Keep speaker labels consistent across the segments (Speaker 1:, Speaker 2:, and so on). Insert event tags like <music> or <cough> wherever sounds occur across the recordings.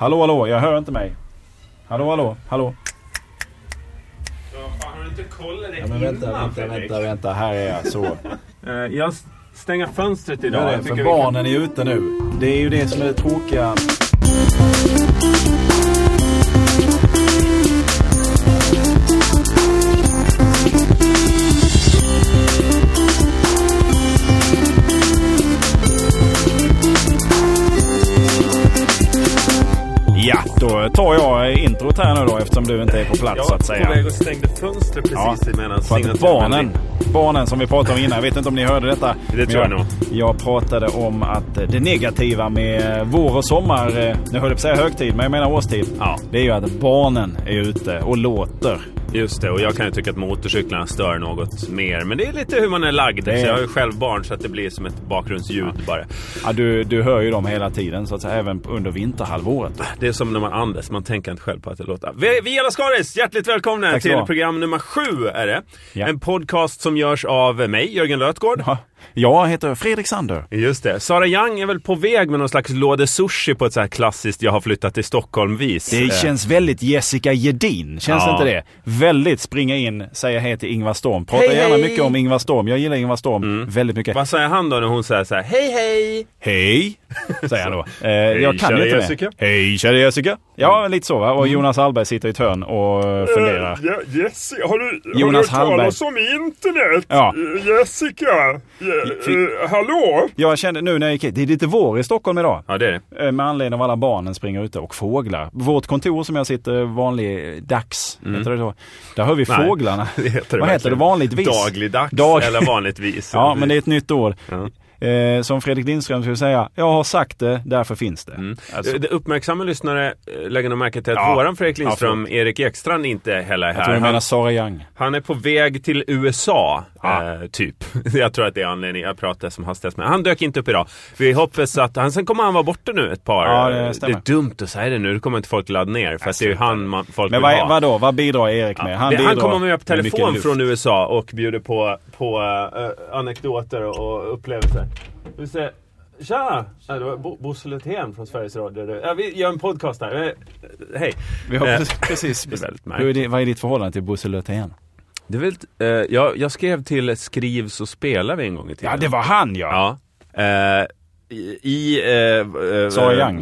Speaker 1: Hallå, hallå, jag hör inte mig. Hallå, hallå, hallå.
Speaker 2: Ja, fan, har du inte kollat det
Speaker 1: Ja, men vänta, vänta, vänta, vänta. Här är jag. Så.
Speaker 2: Eh, Jag stänger fönstret idag.
Speaker 1: Ja,
Speaker 2: Jag tycker
Speaker 1: för
Speaker 2: vi
Speaker 1: barnen är ute nu. Det är ju det som är det tråkiga. Ja, då tar jag introt här nu då eftersom du inte är på
Speaker 2: kan...
Speaker 1: plats så att
Speaker 2: Jag var på
Speaker 1: säga.
Speaker 2: väg och stängde fönstret precis
Speaker 1: Ja,
Speaker 2: emellan
Speaker 1: För att barnen, barnen som vi pratade om innan, jag vet inte om ni hörde detta. men
Speaker 2: tror jag nog.
Speaker 1: Jag pratade om att det negativa med vår och sommar, eh, nu höll jag på att säga högtid, men jag menar årstid.
Speaker 2: Ja.
Speaker 1: Det är ju att barnen är ute och låter.
Speaker 2: Just det, och jag kan ju tycka att motorcyklarna stör något mer. Men det är lite hur man är lagd.
Speaker 1: är-
Speaker 2: Så jag har ju själv barn så att det blir som ett bakgrundsljud bara.
Speaker 1: Ja, du, du hör ju dem hela tiden, så att säga, även under vinterhalvåret.
Speaker 2: Det är som när man andas, man tänker inte själv på att det låter. Vi, vi är Lascaris, hjärtligt välkomna
Speaker 1: Tack ska
Speaker 2: till
Speaker 1: du ha.
Speaker 2: program nummer sju är det.
Speaker 1: Ja.
Speaker 2: En podcast som görs av mig, Jörgen Lötgård.
Speaker 1: Ja, Jag heter Fredrik Sander.
Speaker 2: Just det. Sara Young är väl på väg med någon slags lådesushi på ett så här klassiskt jag har flyttat till Stockholm-vis.
Speaker 1: Det
Speaker 2: Eh,
Speaker 1: känns väldigt Jessica Jedin, känns
Speaker 2: Ja.
Speaker 1: inte det? Väldigt springa in, säga hej till Ingvar Storm. Pratar
Speaker 2: Hej,
Speaker 1: gärna
Speaker 2: hej!
Speaker 1: mycket om Ingvar Storm. Jag gillar Ingvar Storm
Speaker 2: Mm.
Speaker 1: väldigt mycket.
Speaker 2: Vad säger han då när hon säger så här, hej hej?
Speaker 1: Hej! Säger
Speaker 2: <laughs>
Speaker 1: han då. Eh, jag kan
Speaker 2: kära
Speaker 1: ju inte
Speaker 2: Jessica. Mm.
Speaker 1: Jessica. Hej kära Jessica! Ja, lite så va. Och Jonas Hallberg sitter i ett hörn och eh, funderar.
Speaker 2: Jessica, har du,
Speaker 1: Jonas hört Hallberg. talas
Speaker 2: om internet? Eh,
Speaker 1: Ja.
Speaker 2: Jessica,
Speaker 1: eh,
Speaker 2: hallå?
Speaker 1: Jag kände nu när jag gick hit, det är lite vår i Stockholm idag.
Speaker 2: Ja, det är det. <laughs>
Speaker 1: Eh, Med anledning av alla barnen springer ute och fåglar. Vårt kontor som jag sitter vanlig dags, heter det så? Där hör vi
Speaker 2: Mm. Nej,
Speaker 1: fåglarna.
Speaker 2: <laughs> det heter det
Speaker 1: Vad heter det
Speaker 2: verkligen.
Speaker 1: vanligtvis?
Speaker 2: Dagligdags
Speaker 1: Dag-
Speaker 2: eller
Speaker 1: <laughs>
Speaker 2: vanligtvis.
Speaker 1: Ja, men det är ett nytt ord.
Speaker 2: Ja.
Speaker 1: Eh, som Fredrik Lindström skulle säga, jag har sagt det, därför finns det.
Speaker 2: Mm.
Speaker 1: Alltså,
Speaker 2: Eh, Det Uppmärksamma lyssnare eh, lägger nog märke till att
Speaker 1: Ja.
Speaker 2: våran Fredrik
Speaker 1: Ja,
Speaker 2: Lindström, Erik Ekstrand, inte heller är
Speaker 1: jag tror
Speaker 2: här.
Speaker 1: du menar
Speaker 2: Han,
Speaker 1: Sara Young.
Speaker 2: han är på väg till USA,
Speaker 1: Ja.
Speaker 2: eh, typ. <laughs> Jag tror att det är anledningen. Jag pratade som hastigast med Han dök inte upp idag. Vi hoppas att han, sen kommer han vara borta nu ett par...
Speaker 1: Ja, det
Speaker 2: eh,
Speaker 1: stämmer.
Speaker 2: är dumt att säga det nu. Då kommer inte folk ladda ner. För att det är ju han man, folk
Speaker 1: Men
Speaker 2: vill ha.
Speaker 1: vad, vadå, vad bidrar Erik med?
Speaker 2: Han, han
Speaker 1: bidrar
Speaker 2: kommer med på
Speaker 1: med mycket
Speaker 2: telefon
Speaker 1: luft.
Speaker 2: från USA och bjuder på, på eh, anekdoter och upplevelser. Vi ser. Tja! Ja, det var Bo- Bosse Luthén från Sveriges Radio. Ja, vi gör en podcast här. Eh, Hej!
Speaker 1: Vi har
Speaker 2: Eh,
Speaker 1: precis- precis
Speaker 2: <laughs> det är väldigt märkligt.
Speaker 1: Hur är det, vad är ditt förhållande till Bosse Löfven?
Speaker 2: Det är väldigt, eh, jag, jag skrev till Skriv så spelar vi en gång i tiden.
Speaker 1: Ja, det var han ja!
Speaker 2: Ja. Eh, i- I eh, eh,
Speaker 1: Sara Young.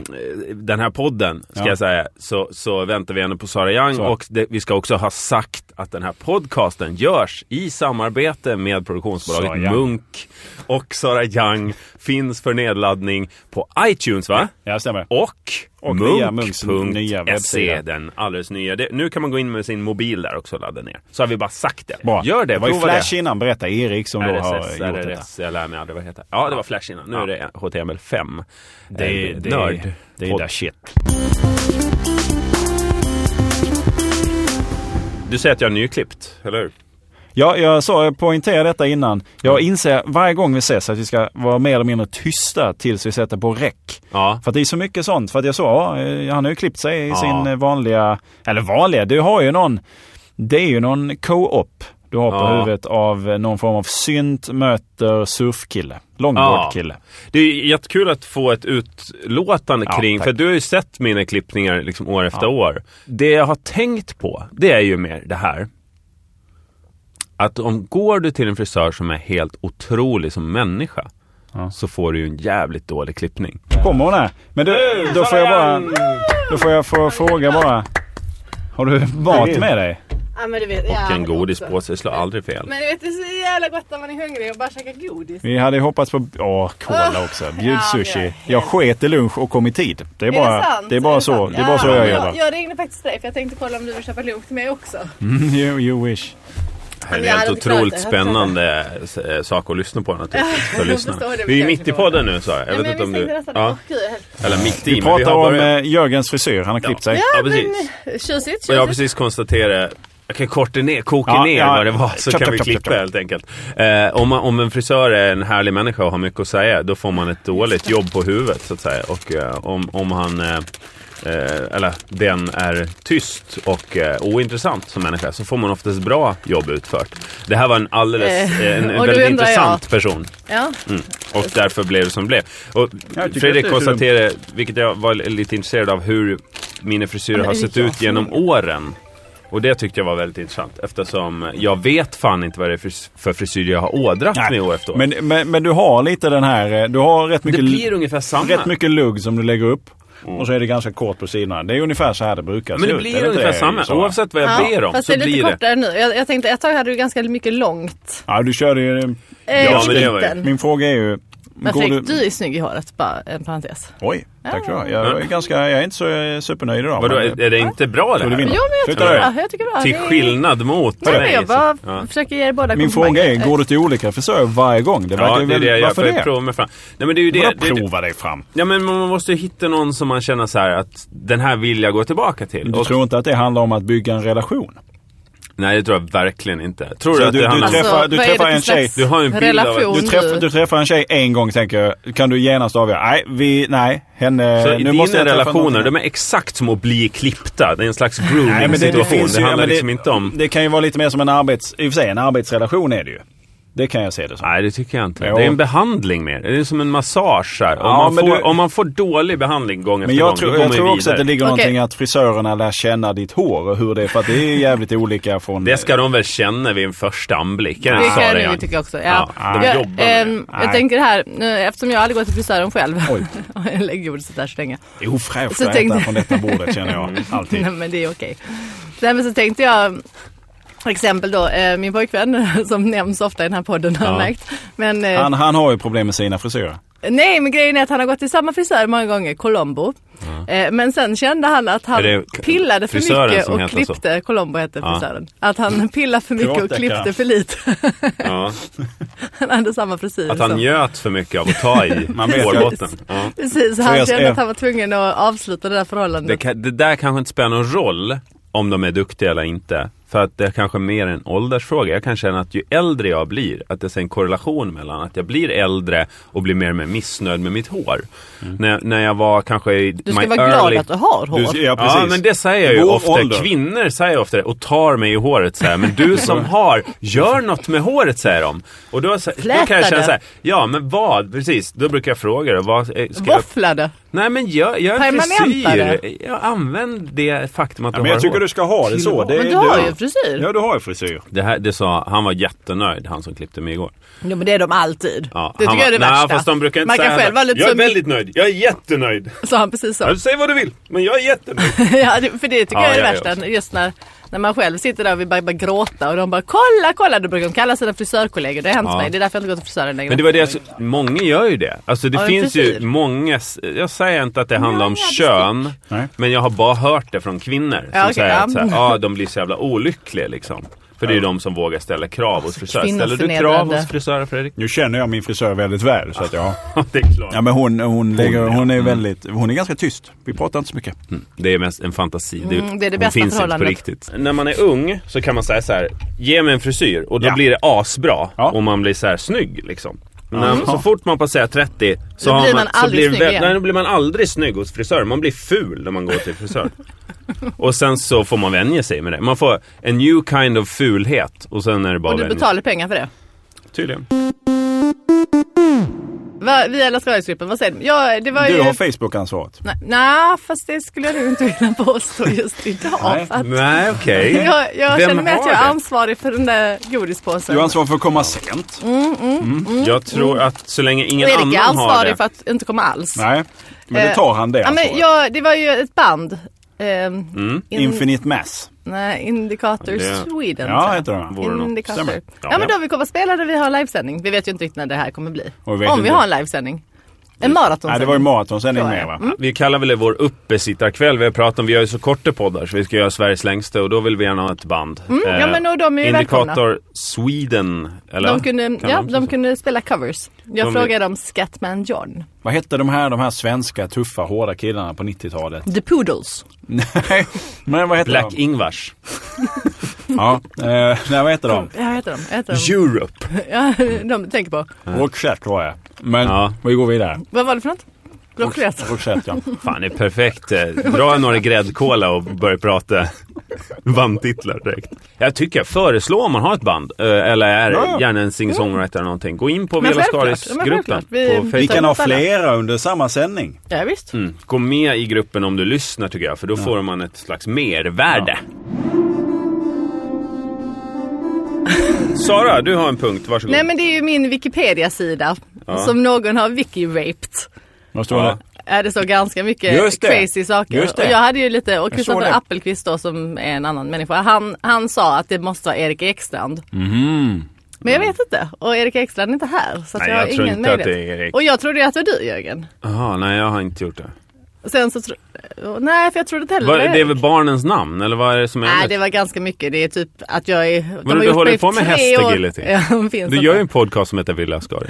Speaker 2: eh, den här podden, ska
Speaker 1: Ja.
Speaker 2: jag säga, så, så väntar vi ännu på Sara Young.
Speaker 1: Så.
Speaker 2: Och det, vi ska också ha sagt att den här podcasten görs i samarbete med
Speaker 1: Sara
Speaker 2: produktionsbolaget
Speaker 1: Young.
Speaker 2: Munk. Och Sara Young finns för nedladdning på iTunes, va?
Speaker 1: Ja, stämmer.
Speaker 2: Och,
Speaker 1: Och via Munks nya
Speaker 2: munk.se,
Speaker 1: webbsida.
Speaker 2: den alldeles nya. Det, nu kan man gå in med sin mobil där också och ladda ner. Så har vi bara sagt det.
Speaker 1: Bra.
Speaker 2: Gör det,
Speaker 1: var ju
Speaker 2: prova
Speaker 1: Flash innan, berätta Erik som då har
Speaker 2: RSS,
Speaker 1: gjort detta.
Speaker 2: RRS, jag lär mig aldrig vad det heter. Ja, det var Flash innan. Nu är det HTML5.
Speaker 1: Det,
Speaker 2: Eh,
Speaker 1: det,
Speaker 2: Nörd.
Speaker 1: det är
Speaker 2: Podd.
Speaker 1: där shit.
Speaker 2: Du säger att jag är nyklippt, eller hur?
Speaker 1: Ja, jag sa, jag poängterade detta innan. Jag inser varje gång vi ses att vi ska vara mer eller mindre tysta tills vi sätter på räck.
Speaker 2: Ja.
Speaker 1: För att det är så mycket sånt. För att jag såg, ja, eh, han har ju klippt sig i
Speaker 2: Ja.
Speaker 1: sin eh, vanliga, eller vanliga, du har ju någon, det är ju någon co-op du har på
Speaker 2: Ja.
Speaker 1: huvudet av eh, någon form av synt möter surfkille. Longboardkille.
Speaker 2: Det är jättekul att få ett utlåtande
Speaker 1: Ja,
Speaker 2: kring,
Speaker 1: tack.
Speaker 2: för du har ju sett mina klippningar liksom år efter
Speaker 1: Ja.
Speaker 2: år. Det jag har tänkt på, det är ju mer det här. Att om går du till en frisör som är helt otrolig som människa,
Speaker 1: Ja.
Speaker 2: så får du ju en jävligt dålig klippning.
Speaker 1: Kommer hon här? Men du, då får jag bara, då får jag få fråga bara. Har du mat med dig?
Speaker 3: Ja, men du vet, ja,
Speaker 2: Och en
Speaker 3: men också.
Speaker 2: godispåse slår aldrig fel.
Speaker 3: Men du vet det är så jävla gott när man är hungrig och bara käka godis.
Speaker 1: Vi hade ju hoppats på, åh, cola också. Bjud
Speaker 3: Ah. ja, det
Speaker 1: sushi.
Speaker 3: är
Speaker 1: Jag sket i lunch och kom i tid. Det är
Speaker 3: Är
Speaker 1: bara,
Speaker 3: det sant?
Speaker 1: det är bara så,
Speaker 3: sant?
Speaker 1: det är bara så
Speaker 3: Ja,
Speaker 1: jag
Speaker 3: men
Speaker 1: jobbar.
Speaker 3: Jag ringde faktiskt dig för jag tänkte kolla om du vill köpa lunch till mig också.
Speaker 1: Mm, you, you wish.
Speaker 2: Det här är
Speaker 3: Men jag
Speaker 2: en helt
Speaker 3: hade inte klarat
Speaker 2: otroligt
Speaker 3: det.
Speaker 2: spännande eh, sak att lyssna på naturligtvis för
Speaker 3: jag
Speaker 2: lyssnarna.
Speaker 3: förstår det, men
Speaker 2: Vi är
Speaker 3: jag
Speaker 2: mitt i
Speaker 3: förstår
Speaker 2: podden nu Sara. Jag
Speaker 3: Nej,
Speaker 2: vet
Speaker 3: men
Speaker 2: inte om
Speaker 3: visst tänkte
Speaker 2: du...
Speaker 3: jag nästan,
Speaker 2: Ja.
Speaker 3: åh gud. jag är helt-
Speaker 2: Eller mitt i,
Speaker 1: Vi pratar om eh, Jörgens frisyr, han har klippt sig.
Speaker 2: Ja, precis.
Speaker 3: men tjusigt,
Speaker 2: Och jag har
Speaker 3: tjusigt.
Speaker 2: precis konstaterat jag kan korta ner, koka
Speaker 1: Ja,
Speaker 2: ner
Speaker 1: ja.
Speaker 2: vad det var så
Speaker 1: Chop,
Speaker 2: kan
Speaker 1: chop,
Speaker 2: vi
Speaker 1: chop,
Speaker 2: klippa
Speaker 1: chop, chop.
Speaker 2: helt enkelt. Eh, om, man, om en frisör är en härlig människa och har mycket att säga då får man ett dåligt jobb på huvudet så att säga. Och eh, om, om han eh, eh, eller den är tyst och eh, ointressant som människa så får man oftast bra jobb utfört. Det här var en alldeles,
Speaker 3: Eh,
Speaker 2: eh, en, en
Speaker 3: och då
Speaker 2: väldigt
Speaker 3: undrar jag-
Speaker 2: intressant person.
Speaker 3: Ja.
Speaker 2: Och därför blev det som det blev. Och
Speaker 1: Jag tycker
Speaker 2: Fredrik
Speaker 1: att det är så dumt.
Speaker 2: konstaterade, vilket jag var lite intresserad av, hur mina frisyrer
Speaker 3: Men
Speaker 2: har
Speaker 3: det är
Speaker 2: sett
Speaker 3: jag
Speaker 2: ut
Speaker 3: som-
Speaker 2: genom åren. Och det tyckte jag var väldigt intressant eftersom jag vet fan inte vad det är för, för frisyr jag har ådrat mig år efter år.
Speaker 1: Men, men, men du har lite den här, eh, du har rätt
Speaker 2: det
Speaker 1: mycket,
Speaker 2: blir ungefär samma.
Speaker 1: rätt mycket lugg som du lägger upp. Och så är det ganska kort på sidorna. Det är ungefär så här det brukar
Speaker 2: Mm. men
Speaker 1: se
Speaker 2: det
Speaker 1: ut.
Speaker 2: blir
Speaker 1: är inte
Speaker 2: ungefär
Speaker 1: det,
Speaker 2: samma.
Speaker 1: Sara?
Speaker 2: Oavsett vad jag ber om
Speaker 3: fast
Speaker 2: så
Speaker 3: det är lite
Speaker 2: blir det.
Speaker 3: kortare nu. Jag, jag tänkte ett tag hade du ganska mycket långt.
Speaker 1: Ja, du körde ju...
Speaker 2: Ja,
Speaker 3: Eh, i
Speaker 2: men det var ju-
Speaker 3: mitten.
Speaker 1: Mm. Min fråga är ju...
Speaker 3: Men
Speaker 1: går
Speaker 3: Fredrik, du är snygg i håret, bara en parentes.
Speaker 1: Oj, tack ska du ha. Jag är, ganska, jag är inte så eh, supernöjd idag.
Speaker 2: Vadå,
Speaker 1: men-
Speaker 2: är, är det inte bra det
Speaker 1: Tror du
Speaker 2: här?
Speaker 1: vinner?
Speaker 3: Jo men jag
Speaker 1: Sluta
Speaker 3: tycker det är
Speaker 1: där.
Speaker 3: bra. Jag tycker det är bra.
Speaker 2: Till
Speaker 3: Det är-
Speaker 2: skillnad mot
Speaker 3: Ja,
Speaker 2: mig.
Speaker 3: Jag bara
Speaker 2: Ja.
Speaker 3: försöker ge er båda
Speaker 1: Min
Speaker 3: komplimanger.
Speaker 1: fråga är, går du till olika frisörer varje gång? Det verkar
Speaker 2: Ja,
Speaker 1: ju
Speaker 2: det är
Speaker 1: väldigt...
Speaker 2: det jag gör.
Speaker 1: Varför
Speaker 2: För att
Speaker 1: det?
Speaker 2: prova mig fram. Nej, men det är ju det.
Speaker 1: Vadå
Speaker 2: det, det
Speaker 1: prova dig fram?
Speaker 2: ja, men man måste ju hitta någon som man känner så här att den här vill jag gå tillbaka till.
Speaker 1: Du
Speaker 2: Och-
Speaker 1: tror inte att det handlar om att bygga en relation?
Speaker 2: Nej, det tror jag verkligen inte. Tror du
Speaker 1: Så
Speaker 2: att
Speaker 1: du-
Speaker 2: det
Speaker 1: du
Speaker 2: handlar om...
Speaker 1: träffar- du
Speaker 3: Alltså, vad är det
Speaker 1: träffar
Speaker 3: för
Speaker 1: en
Speaker 3: slags
Speaker 1: tjej.
Speaker 2: Du har ju en bild av att-
Speaker 3: relation
Speaker 1: Du, träff,
Speaker 3: nu?
Speaker 1: du träffar en tjej en gång tänker jag, kan du genast avgöra? Nej, vi, nej, henne...
Speaker 2: Så
Speaker 1: nu
Speaker 2: dina
Speaker 1: måste jag träffa
Speaker 2: relationer,
Speaker 1: någon.
Speaker 2: de är exakt som att bli klippta. Det är en slags
Speaker 1: Nej, men det, det,
Speaker 2: grooming-situation. Det,
Speaker 1: finns ju, ja,
Speaker 2: handlar
Speaker 1: men
Speaker 2: liksom inte om...
Speaker 1: Det kan ju vara lite mer som en arbets... I och för sig, en arbetsrelation är det ju. Det kan jag se det som.
Speaker 2: Nej, det tycker jag inte.
Speaker 1: Jo.
Speaker 2: Det är en behandling mer. Det är som en massage här. Om,
Speaker 1: Ja,
Speaker 2: man,
Speaker 1: men
Speaker 2: får,
Speaker 1: du-
Speaker 2: om man får dålig behandling gång efter
Speaker 1: Men jag
Speaker 2: gång,
Speaker 1: tror,
Speaker 2: då går
Speaker 1: jag
Speaker 2: man
Speaker 1: tror
Speaker 2: ju
Speaker 1: också att det
Speaker 2: vidare.
Speaker 1: ligger
Speaker 3: Okej.
Speaker 1: någonting att frisörerna lär känna ditt hår och hur det är. För att det är jävligt olika från...
Speaker 2: Det ska de väl känna vid en första anblick. Är det
Speaker 3: Det
Speaker 2: så
Speaker 3: kan
Speaker 2: det
Speaker 3: jag nog
Speaker 2: är?
Speaker 3: tycka också. Ja.
Speaker 2: Ja, de
Speaker 3: jag,
Speaker 2: jobbar med
Speaker 3: ehm,
Speaker 1: Nej.
Speaker 3: jag tänker här, nu, eftersom jag aldrig går till frisören själv. <laughs>
Speaker 1: Oj.
Speaker 3: jag lägger gjorde så där så länge.
Speaker 1: Det är ofräscht
Speaker 3: Så Mm.
Speaker 1: att
Speaker 3: tänkte-
Speaker 1: äta från detta bordet känner jag alltid.
Speaker 3: Nej, <laughs> men det är okej. Nej, men så tänkte jag, exempel då, eh, min pojkvän <laughs> som nämns ofta i den här podden har jag
Speaker 2: Ja.
Speaker 3: märkt. Men, eh,
Speaker 1: <laughs> Han, han har ju problem med sina frisyrer.
Speaker 3: Nej men grejen är att han har gått till samma frisör många gånger, Colombo. Eh, Men sen kände han att han
Speaker 2: Är det
Speaker 3: pillade för
Speaker 2: frisören
Speaker 3: mycket
Speaker 2: som
Speaker 3: och
Speaker 2: heter så?
Speaker 3: klippte, Colombo hette
Speaker 2: Ja.
Speaker 3: frisören.
Speaker 2: <laughs>
Speaker 3: Att han pillade för mycket och
Speaker 1: Privatdeckare.
Speaker 3: klippte för lite. <laughs>
Speaker 2: Ja.
Speaker 3: Han hade samma frisyr.
Speaker 2: Att han
Speaker 3: som-
Speaker 2: njöt för mycket av att ta i
Speaker 1: Man vet ju.
Speaker 2: hårbotten. Ja.
Speaker 3: Precis,
Speaker 1: Så
Speaker 3: han
Speaker 1: jag-
Speaker 3: kände
Speaker 1: eh,
Speaker 3: att han var tvungen att avsluta det där förhållandet.
Speaker 2: Det, kan, det där kanske inte spelar någon roll om de är duktiga eller inte. För att det är kanske mer en åldersfråga. Jag kan känna att ju äldre jag blir, att det är en korrelation mellan att jag blir äldre och blir mer och mer missnöjd med mitt hår.
Speaker 1: Mm.
Speaker 2: När, när jag var kanske i
Speaker 3: Du ska vara glad att du har hår.
Speaker 1: Du, ja, precis.
Speaker 2: Ja men det säger jag ju
Speaker 1: Vår
Speaker 2: ofta.
Speaker 1: ålder.
Speaker 2: Kvinnor säger jag ofta det och tar mig i håret så här. Men
Speaker 1: <laughs>
Speaker 2: du som har, gör något med håret säger de. Och då, så, då kan
Speaker 3: Fläta
Speaker 2: jag känna
Speaker 3: det.
Speaker 2: så här, ja men vad, precis. Då brukar jag fråga då, vad eh, ska jag
Speaker 3: Våfflade.
Speaker 2: Nej men gör, gör en
Speaker 3: Permanenta
Speaker 2: frisyr. Jag använd det faktum att du
Speaker 1: Ja, men
Speaker 2: har
Speaker 1: jag tycker
Speaker 2: hår.
Speaker 1: du ska ha det så. Det,
Speaker 3: Men
Speaker 1: är-
Speaker 3: du har ju frisyr.
Speaker 1: Ja, du har ju frisyr.
Speaker 2: Det här, det sa, han var jättenöjd, han som klippte mig igår.
Speaker 3: Jo men det är de alltid.
Speaker 2: Ja,
Speaker 3: det
Speaker 2: han
Speaker 3: tycker jag är det
Speaker 2: var,
Speaker 3: värsta.
Speaker 2: Nej, fast de brukar inte
Speaker 3: Man kan
Speaker 2: säga
Speaker 3: själv vara lite
Speaker 2: Jag är
Speaker 3: som,
Speaker 2: väldigt nöjd, jag är jättenöjd.
Speaker 3: sa han precis så.
Speaker 2: Ja, Säg vad du vill, men jag är jättenöjd.
Speaker 3: <laughs> Ja, det- för det tycker
Speaker 2: Ja,
Speaker 3: jag är
Speaker 2: ja,
Speaker 3: det
Speaker 2: ja,
Speaker 3: värsta. Just när, när man själv sitter där och vill bara, bara gråta och de bara kolla, kolla. Då brukar de kalla sina frisörkollegor. Det har hänt
Speaker 2: Ja.
Speaker 3: mig. Det är därför jag inte går till frisören
Speaker 2: <laughs>
Speaker 3: längre.
Speaker 2: Men det var det, jag s- många gör ju det. Alltså det
Speaker 3: Ja, men
Speaker 2: finns ju
Speaker 3: precis.
Speaker 2: många, s- jag säger inte att det handlar om
Speaker 3: ja, det
Speaker 2: kön,
Speaker 1: Nej.
Speaker 2: men jag har bara hört det från kvinnor. Som
Speaker 3: Ja, okej,
Speaker 2: säger
Speaker 3: ja.
Speaker 2: att så här,
Speaker 3: <laughs>
Speaker 2: ah, de blir så jävla olyckliga liksom. För det är ju de som vågar ställa krav
Speaker 3: Alltså,
Speaker 2: hos frisörer. Ställer du krav
Speaker 3: kvinnoförnedrande.
Speaker 2: hos frisörer Fredrik?
Speaker 1: Nu känner jag min frisör väldigt väl. Så att jag,
Speaker 2: det är klart.
Speaker 1: ja, men hon, hon, mm. lägger,
Speaker 2: ja.
Speaker 1: hon, är väldigt, hon är ganska tyst. Vi pratar inte så mycket.
Speaker 2: Det är mest en fantasi.
Speaker 3: Mm, det är det
Speaker 2: hon
Speaker 3: bästa
Speaker 2: finns inte på
Speaker 3: förhållandet.
Speaker 2: riktigt. När man är ung så kan man säga så här, ge mig en frisyr och då
Speaker 1: Ja.
Speaker 2: blir det asbra
Speaker 1: Ja.
Speaker 2: och man blir så här snygg liksom. Men
Speaker 1: Ja.
Speaker 2: När, så fort man passerar 30 så,
Speaker 3: Då
Speaker 2: har
Speaker 3: blir
Speaker 2: man,
Speaker 3: man
Speaker 2: så
Speaker 3: aldrig
Speaker 2: blir,
Speaker 3: snygg
Speaker 2: vä-
Speaker 3: igen.
Speaker 2: nej, då blir man aldrig snygg hos frisören. Man blir ful när man går till
Speaker 3: <laughs>
Speaker 2: frisören. och sen så får man vänja sig med det. Man får en new kind of fulhet och sen är det bara
Speaker 3: och du
Speaker 2: att vänja
Speaker 3: betalar pengar för det.
Speaker 2: sig. Tydligen.
Speaker 3: Va, vi i alla Skådisgruppen, vad säger du? Ja, det var ju...
Speaker 1: Du har Facebook-ansvaret.
Speaker 3: Nej, nej, fast det skulle jag nog inte vilja påstå just idag.
Speaker 1: Nej.
Speaker 3: för att
Speaker 2: Nej okej.
Speaker 3: <laughs> jag jag
Speaker 2: Vem
Speaker 3: känner mig att
Speaker 2: har
Speaker 3: jag är
Speaker 2: det?
Speaker 3: ansvarig för den där godispåsen.
Speaker 1: Du har ansvar för att komma sent.
Speaker 3: Mm.
Speaker 2: Jag tror att så länge ingen
Speaker 3: Och Erik
Speaker 2: annan
Speaker 3: är
Speaker 2: har det.
Speaker 3: ansvarig för att inte komma alls.
Speaker 1: Nej, men det tar han det
Speaker 3: Eh, Ja, men
Speaker 1: ansvaret.
Speaker 3: jag, det var ju ett band. Ehm, in,
Speaker 1: Infinite Mass.
Speaker 3: nej, Indicator
Speaker 2: Det-
Speaker 3: Sweden. tror
Speaker 1: Ja,
Speaker 3: jag.
Speaker 1: heter den.
Speaker 2: Vore något.
Speaker 3: Indikator.
Speaker 1: Stämmer.
Speaker 3: Ja,
Speaker 2: Ja.
Speaker 3: men då har vi kommer att spela där vi har livesändning. Vi vet ju inte riktigt när det här kommer bli.
Speaker 1: Och
Speaker 3: Om
Speaker 1: vi vet
Speaker 3: vi
Speaker 1: inte.
Speaker 3: har en livesändning. En maraton.
Speaker 1: Nej, det var ju maratonsändning
Speaker 3: Tror
Speaker 1: med
Speaker 3: jag.
Speaker 1: va?
Speaker 2: Vi kallar väl det vår uppesittarkväll. Vi har pratat om, vi gör ju så korta poddar så vi ska göra Sveriges längsta och då vill vi gärna ha ett band.
Speaker 3: Mm, ja, men och de är ju
Speaker 2: eh, Indikator
Speaker 3: välkomna.
Speaker 2: Sweden, eller?
Speaker 3: de kunde,
Speaker 2: Kan
Speaker 3: ja,
Speaker 2: man-
Speaker 3: de kunde spela covers. Jag
Speaker 2: De-
Speaker 3: frågade om Scatman John.
Speaker 1: Vad hette de här, de här svenska tuffa hårda killarna på 90-talet?
Speaker 3: The Poodles.
Speaker 1: <laughs> Nej, men vad hette de?
Speaker 2: Black-Ingvars.
Speaker 1: Ja, eh, nej, vad hette de?
Speaker 3: Ja, heter de? Heter de?
Speaker 2: Europe.
Speaker 3: Ja, <laughs> de tänker på.
Speaker 1: Mm. Rockset var jag. Men
Speaker 2: Ja.
Speaker 1: vi går vidare.
Speaker 3: Vad var det för något? Raclette.
Speaker 1: Rochette,
Speaker 3: <laughs>
Speaker 1: ja.
Speaker 2: Fan, det är perfekt. Eh, Dra några gräddkola och börja prata <laughs> bandtitlar direkt. Jag tycker jag föreslår om man har ett band eh, eller är
Speaker 1: Ja, ja.
Speaker 2: gärna en singer-songwriter eller någonting. Gå in på
Speaker 3: Men
Speaker 2: Vela
Speaker 3: självklart, men
Speaker 2: Skaris-gruppen
Speaker 3: självklart. Vi-
Speaker 2: på
Speaker 1: Vi
Speaker 2: Facebook.
Speaker 1: kan ha flera under samma sändning.
Speaker 3: Ja, visst.
Speaker 2: Mm. Gå med i gruppen om du lyssnar tycker jag, för då får man ett slags mervärde. Sara, du har en punkt. Varsågod.
Speaker 3: Nej men det är ju min Wikipedia-sida
Speaker 2: Ja.
Speaker 3: som någon har wiki-raped.
Speaker 1: Vad står
Speaker 2: Ja.
Speaker 1: det?
Speaker 3: Ja, det står ganska mycket
Speaker 1: Just det.
Speaker 3: crazy saker.
Speaker 1: Just det.
Speaker 3: Och jag hade ju lite, och Kristoffer
Speaker 1: det.
Speaker 3: Appelqvist då som är en annan människa, han, han sa att det måste vara Erik Ekstrand.
Speaker 2: Mm.
Speaker 1: Mm.
Speaker 3: Men jag vet inte, och Erik Ekstrand är inte här. Så att
Speaker 2: Nej,
Speaker 3: jag har
Speaker 2: jag tror
Speaker 3: ingen
Speaker 2: inte att
Speaker 3: möjlighet.
Speaker 2: det är Erik.
Speaker 3: Och jag trodde ju att det var du Jörgen.
Speaker 2: Jaha, nej jag har inte gjort det.
Speaker 3: Sen så tro... Nej, för jag trodde inte heller
Speaker 2: Vad-
Speaker 3: var
Speaker 2: det är
Speaker 3: Erik.
Speaker 2: väl barnens namn, eller vad är det som är
Speaker 3: Nej,
Speaker 2: ämnet?
Speaker 3: det var ganska mycket. Det är typ att jag är... de
Speaker 2: du
Speaker 3: har gjort
Speaker 2: håller
Speaker 3: mig
Speaker 2: på med
Speaker 3: tre
Speaker 2: hästegiljotin?
Speaker 3: år. <laughs> Ja, de finns
Speaker 2: Du
Speaker 3: inte.
Speaker 2: gör ju en podcast som heter Villa
Speaker 3: <laughs>
Speaker 2: Skari.